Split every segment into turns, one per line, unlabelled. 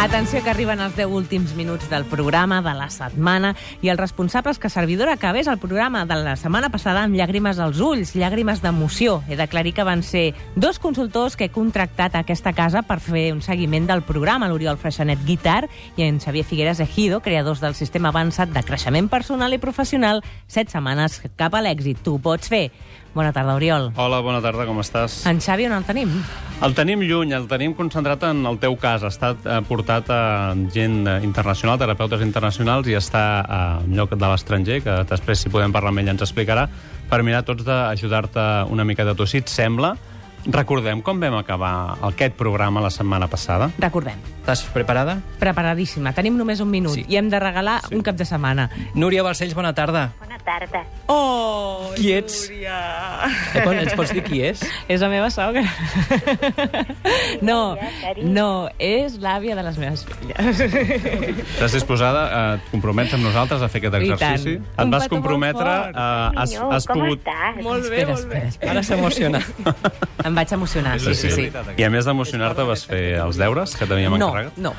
Atenció que arriben els 10 últims minuts del programa de la setmana i els responsables que servidora acabés el programa de la setmana passada amb llàgrimes als ulls, llàgrimes d'emoció. He d'aclarir que van ser dos consultors que he contractat a aquesta casa per fer un seguiment del programa, l'Oriol Freixanet Guitar i en Xavier Figueres Ejido, creadors del sistema avançat de creixement personal i professional, set setmanes cap a l'èxit. Tu ho pots fer. Bona tarda, Oriol.
Hola, bona tarda, com estàs?
En Xavi, on el tenim?
El tenim lluny, el tenim concentrat en el teu cas. Ha estat eh, portat a gent eh, internacional, terapeutes internacionals, i està a un lloc de l'estranger, que després, si podem parlar amb ell, ens explicarà, per mirar tots d'ajudar-te una mica de tu, si et sembla. Recordem com vam acabar aquest programa la setmana passada.
Recordem,
Estàs preparada?
preparadíssima. Tenim només un minut
Sí.
i hem de regalar un cap de setmana.
Núria Balcells, bona tarda.
Bona tarda.
Oh,
Qui ets? Eh, pot- Ens pots dir qui és?
És la meva sogra. No, no, és l'àvia de les meves filles.
Estàs disposada a et compromets amb nosaltres a fer aquest
I
exercici?
tant.
Et
Un
vas
petó molt
comprometre...
fort.
eh, has,
Minyó,
has
com
pogut...
estàs?
Molt bé,
Espera,
molt bé.
espera, espera.
Ara s'emociona.
Em vaig emocionar, sí, sí, sí.
I a més d'emocionar-te vas fer els deures que t'havíem
No,
encarregat?
no.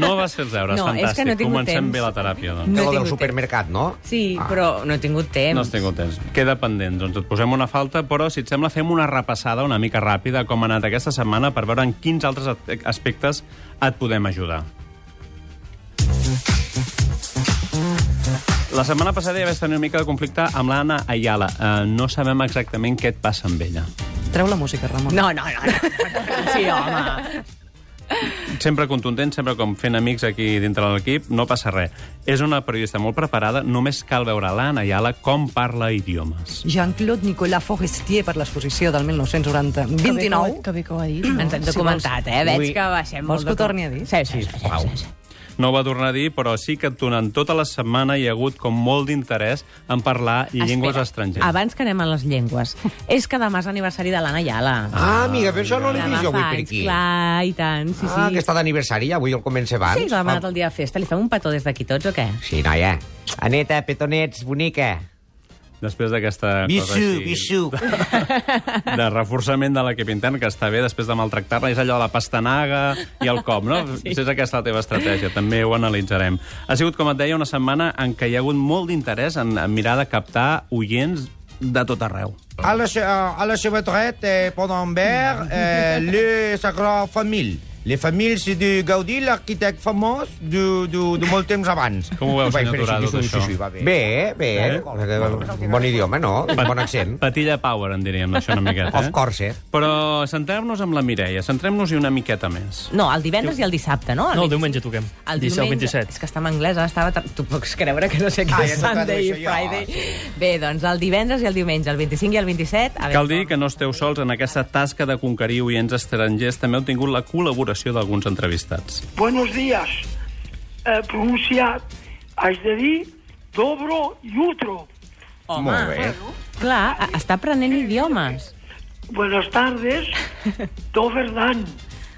No vas fer els deures,
No, és
fantàstic.
que no he tingut
Comencem
temps.
bé la teràpia, doncs.
No he
No, del
tingut
supermercat, no?
Sí, però no he tingut temps.
No has tingut temps. Queda pendent. Doncs et posem una falta, però, si et sembla, fem una repassada una mica ràpida com ha anat aquesta setmana per veure en quins altres at- aspectes et podem ajudar. La setmana passada ja vas tenir una mica de conflicte amb l'Anna Ayala. Eh, no sabem exactament què et passa amb ella.
Treu la música, Ramon.
No, no, no. no. Sí, home.
Sempre contundent, sempre com fent amics aquí dintre de l'equip, no passa res. És una periodista molt preparada, només cal veure l'Anna Ayala com parla idiomes.
Jean-Claude Nicolas Forestier per l'exposició del 1990 29
Que bé que ho ha
Mm.
dit.
Ens hem
doncs.
documentat, eh? Veig que baixem
Vols
molt.
que ho
de-
torni a dir?
Sí, sí, sí. sí, sí, sí.
No ho va tornar a dir, però sí que durant tota la setmana hi ha hagut com molt d'interès en parlar llengües estrangeres.
Abans que anem a les llengües, és que demà és l'aniversari de l'Anna Yala.
Ah, amiga, però això no l'he
Demà
vist jo avui
fa
per
anys,
aquí.
Clar, i tant, sí, sí.
Ah, que està d'aniversari, avui el comença abans.
Sí, que l'ha demanat el dia de festa. Li fem un petó des d'aquí tots o què?
Sí, noia. Aneta, petonets, bonica.
Després d'aquesta cosa
Bisú,
així
bisú.
de reforçament de l'equip intern, que està bé després de maltractar-la, és allò de la pastanaga i el cop, no? Sí. Si és aquesta la teva estratègia, també ho analitzarem. Ha sigut, com et deia, una setmana en què hi ha hagut molt d'interès en, en mirar de captar oients de tot arreu.
À la, che- euh, à la chevatrette, euh, pendant un verre, euh, le Sacra Famille. Les familles, c'est de Gaudí, l'arquitecte famós de, de, de molt temps abans.
Com ho veus,
Vaig
senyor
fer així,
Turà, tot
sí, sí,
això?
sí, va bé. Bé, bé. Eh? Bon idioma, no? Bon accent.
Patilla Power, en diríem, això una miqueta.
Of
Eh?
course, eh?
Però centrem-nos amb la Mireia, centrem-nos-hi una miqueta més.
No, el divendres i el dissabte, no?
No, el diumenge toquem.
El
Dissabte,
diumenge,
27.
És que està en anglès, ara estava... tar- Tu pots creure que no sé què
Ah, ja
és
t'ho
Sunday
tradueixo jo,
Friday. Bé, doncs el divendres i el diumenge, el 25 i el 27... A veure
Cal dir
com.
que no esteu sols en aquesta tasca de conquerir oients estrangers. També heu tingut la col·laboració d'alguns entrevistats.
Buenos días. Eh, pronunciat, haig de dir dobro i utro.
Home,
Molt bé.
Clar, a- està aprenent idiomes.
Buenas tardes, Doverdan.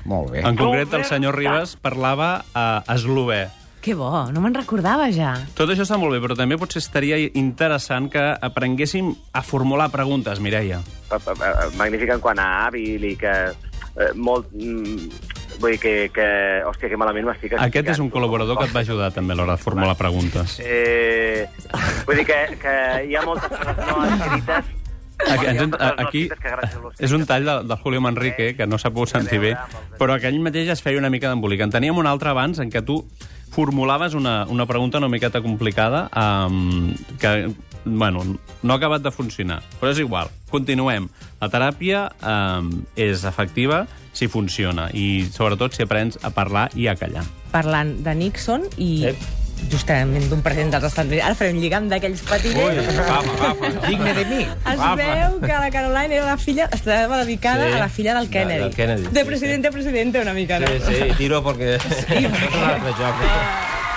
Molt bé.
En concret,
Molt
el
bé.
senyor Ribas parlava a eslové.
Que bo, no me'n recordava ja.
Tot això està molt bé, però també potser estaria interessant que aprenguéssim a formular preguntes, Mireia.
pa- pa- pa- magnífica en quant a hàbil i que eh, molt... mm, Vull dir que, que... Hòstia, que malament m'estic
Aquest és un col·laborador que et va ajudar també a l'hora de formular preguntes.
Eh, vull dir que, que hi ha moltes coses no escrites...
Aquí, ens,
Moltes coses no
aquí
escrites que gràcies a vosaltres.
és un tall de, de Julio Manrique, que no s'ha pogut sentir bé, però que ell mateix es feia una mica d'embolic. En teníem un altre abans en què tu formulaves una, una pregunta una miqueta complicada um, que, bueno, no ha acabat de funcionar. Però és igual, continuem. La teràpia um, és efectiva si funciona i, sobretot, si aprens a parlar i a callar.
Parlant de Nixon i justament d'un president dels Estats Units. Ara faré un lligam d'aquells petits.
Digne de mi.
Es veu que la Caroline era la filla, estava dedicada sí. a la filla del Kennedy.
del Kennedy,
De
sí,
presidente a presidente, una mica, no?
sí, tiro perquè... Sí,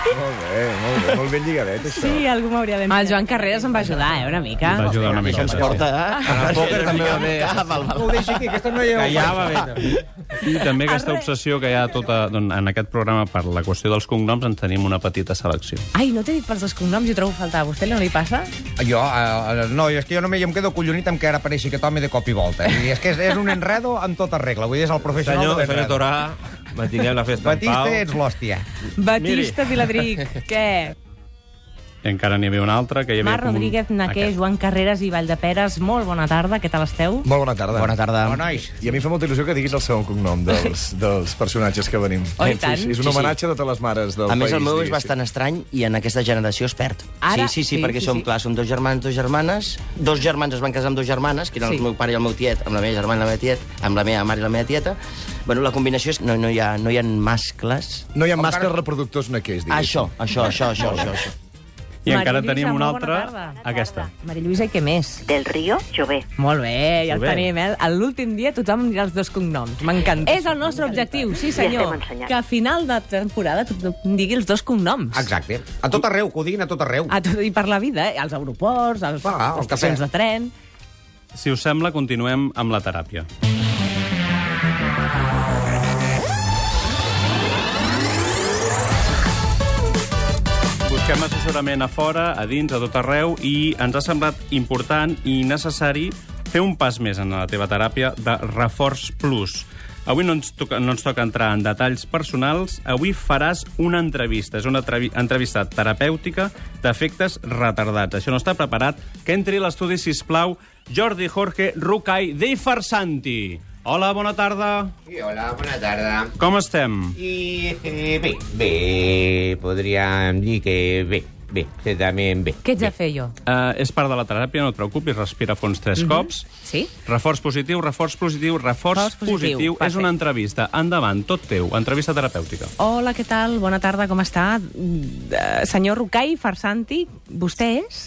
Molt bé, molt bé. Molt ben lligadet, això.
Sí, algú m'hauria de
El Ah, Joan Carreras em va ajudar, eh, una mica.
Va ajudar una mica.
En el pòquer també va bé.
Ah,
No ho deixi aquí, aquesta noia... Callava bé.
I també aquesta obsessió que hi ha tota, doncs, en aquest programa per la qüestió dels cognoms en tenim una petita selecció.
Ai, no t'he dit pels dos cognoms, jo trobo a faltar. A vostè no li passa?
Jo, eh, no, és que jo només jo em quedo collonit amb que ara apareixi que tome de cop i volta. I és que és, és un enredo en tota regla. Vull dir, és el professional
Senyor,
de
senyor
l'enredo.
Torà, Mantinguem la festa en
Batista,
pau.
ets l'hòstia.
Batista Viladric, què?
I encara n'hi havia un altre que hi havia...
Mar
com un-
Rodríguez, Naquer,
Aquest.
Joan Carreras i Valldeperes, molt bona tarda, què tal esteu?
Molt bona tarda.
Bona tarda.
Bona, nois.
I a mi em fa molta il·lusió que diguis el segon cognom dels, dels personatges que venim.
Oh, i tant.
Sí, sí, és
Sí,
un
sí.
homenatge a totes les mares del
A
país.
més, el meu és
diguéssim.
bastant estrany i en aquesta generació es perd.
Ara-
sí, sí, sí,
sí,
perquè
sí,
som,
sí.
clar, som dos germans, dos germanes. Dos germans es van casar amb dos germanes, que eren
Sí.
el meu pare i el meu tiet, amb la meva germana i la meva tiet, amb la meva mare i la meva tieta. Bueno, la combinació és que no, no, hi, ha, no hi ha mascles.
No hi ha mascles reproductors naquers, diguéssim.
Això, això, això, això, això. això.
I encara
Maria
teníem
Lluïsa,
un
molt
altre,
bona tarda.
aquesta.
Maria Lluïsa, i què més?
Del Río Llobé.
Molt bé, ja el
Molt bé.
tenim, eh? A L'últim dia tothom dirà els dos cognoms. M'encanta. És el nostre objectiu, sí senyor.
estem ensenyant.
Que a final de temporada tothom digui els dos cognoms.
Exacte. A tot arreu, que ho diguin a tot arreu.
A tot, I per la vida, eh? Als aeroports, als
Ah, al
estacions
cafè.
de tren...
Si us sembla, continuem amb la teràpia. Busquem assessorament a fora, a dins, a tot arreu, i ens ha semblat important i necessari fer un pas més en la teva teràpia de reforç plus. Avui no ens, toca, no ens toca entrar en detalls personals, avui faràs una entrevista, és una trevi- entrevista terapèutica d'efectes retardats. Això no està preparat, que entri a l'estudi, sisplau, Jordi Jorge Rucai de Farsanti. Hola, bona tarda.
Sí, hola, bona tarda.
Com estem?
I eh, bé, bé, podríem dir que bé, bé, que també bé.
Què ets a fer jo?
Uh, és part de la teràpia, no et preocupis, respira fons tres cops.
Sí?
Reforç positiu, reforç positiu,
Reforç
reforç
positiu,
positiu. És
perfecte.
una entrevista. Endavant, tot teu. Entrevista terapèutica.
Hola, què tal? Bona tarda, com està? Eh, senyor Rucai Farsanti, vostè és?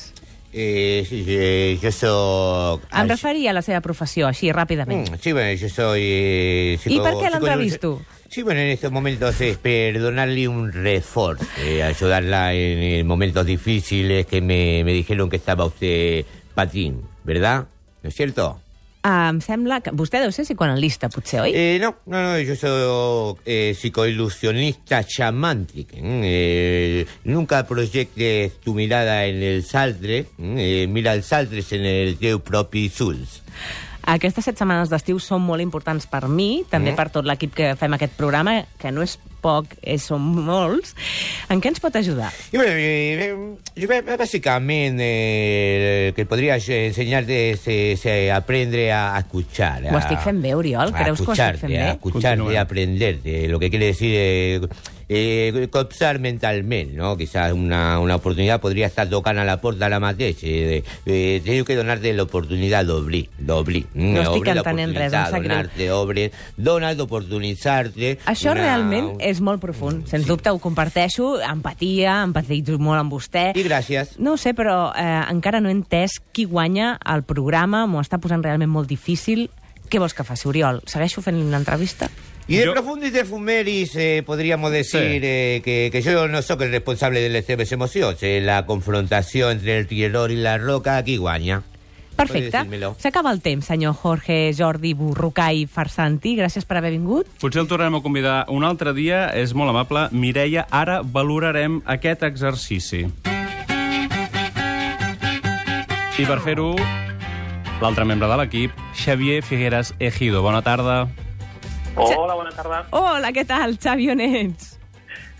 Eh, sí, sí, jo soc...
Em referia a la seva professió, així, ràpidament.
Mm, Sí, bueno, yo soy... Eh,
¿Y por qué la
psicoanalista.
entrevisto?
Sí, bueno, en estos momentos es perdonarle un reforzo, eh, ayudarla en, en momentos difíciles que me, me dijeron que estaba usted patín, ¿verdad? ¿No es cierto?
Ah, em sembla que... Vostè deu ser psicoanalista, potser, oi?
Eh, no, no, no, yo soy eh, psicoilusionista chamántrico. Eh, nunca proyectes tu mirada en el saltre, eh, mira el saltre en el teu propi suls.
Aquestes set setmanes d'estiu són molt importants per mi,
Eh?
també per tot l'equip que fem aquest programa, que no és poc, eh, són molts. En què ens pot ajudar?
Y bueno, eh, eh, yo ba- básicamente eh, el que podría yo enseñarte es eh, se aprende a escuchar.
Ho
a-
estic fent bé, Oriol?
a
Creus que ho estic
escucharte,
fent
a
bé?
escucharte,
Continúa.
a aprenderte. Lo que quiere decir eh, eh, copsar mentalmente, ¿no? Quizás una, una oportunidad podría estar tocando a la puerta de la mateix. Eh, eh, tengo que donarte la oportunidad d'obrir, d'obrir. Mm,
No estic
obrir la
entenent res,
oportunitat,
em sap greu.
Donar-te, obrir, donar oportunitzar-te.
Això
una-
realment és molt profund. Sens dubte, ho comparteixo. Empatia, empatitzo molt amb vostè.
I gràcies.
No ho sé, però eh, encara no he entès qui guanya el programa. M'ho està posant realment molt difícil. Què vols que faci, Oriol? Segueixo fent l'entrevista?
Y de
Yo-
Profundis de Fumeris eh, podríamos decir eh, que, que yo no soy el responsable de las emociones. eh, la confrontación entre el tirador y la roca aquí guaña.
Perfecte.
Podries dir-me-lo.
S'acaba el temps, senyor Jorge Jordi Burrucai Farsanti. Gràcies per haver vingut.
Potser el tornarem a convidar un altre dia. És molt amable. Mireia, ara valorarem aquest exercici. I per fer-ho, l'altre membre de l'equip, Xavier Figueres Ejido. Bona tarda.
Hola, bona tarda.
Hola, què tal, Xavi, on ets?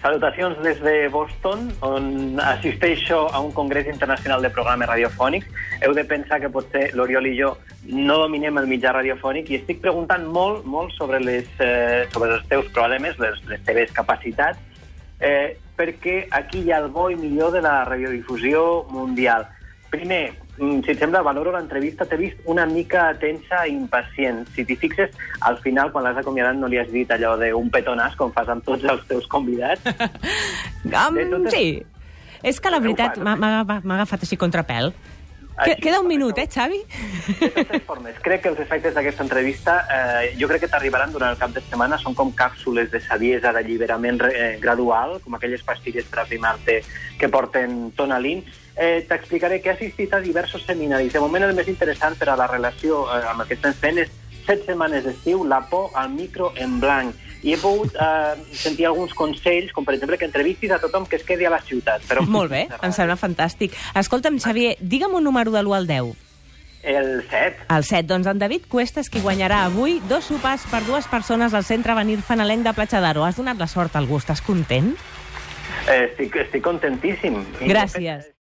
Salutacions des de Boston, on assisteixo a un congrés internacional de programes radiofònics. Heu de pensar que potser l'Oriol i jo no dominem el mitjà radiofònic i estic preguntant molt, molt sobre, les, eh, sobre els teus problemes, les, les teves capacitats, eh, perquè aquí hi ha el bo i millor de la radiodifusió mundial. Primer, mm, si et sembla, valoro l'entrevista. T'he vist una mica tensa i impacient. Si t'hi fixes, al final, quan l'has acomiadat, no li has dit allò d'un petonàs, com fas amb tots els teus convidats.
Um,
De totes-
sí. És que la veritat m'ha m'ha agafat- m'ha agafat així contrapèl. Que,
Així,
queda un
correcte.
minut, eh, Xavi?
De totes formes, crec que els efectes d'aquesta entrevista eh, jo crec que t'arribaran durant el cap de setmana. Són com càpsules de saviesa d'alliberament eh, gradual, com aquelles pastilles per aprimar-te que porten tonalín. Eh, T'explicaré que he assistit a diversos seminaris. De moment el més interessant per a la relació eh, amb el que estem fent és set setmanes d'estiu, la por al micro en blanc. I he pogut eh, sentir alguns consells, com per exemple que entrevistis a tothom que es quedi a la ciutat. Però
Molt bé, em sembla fantàstic. Escolta'm, Xavier, digue'm un número de l'1 al 10.
El 7.
El 7, doncs en David Cuesta és qui guanyarà avui dos sopars per dues persones al centre Avenir Fanalenc de Platja d'Aro. Has donat la sort al gust, estàs content?
Eh, estic, estic contentíssim.
Gràcies.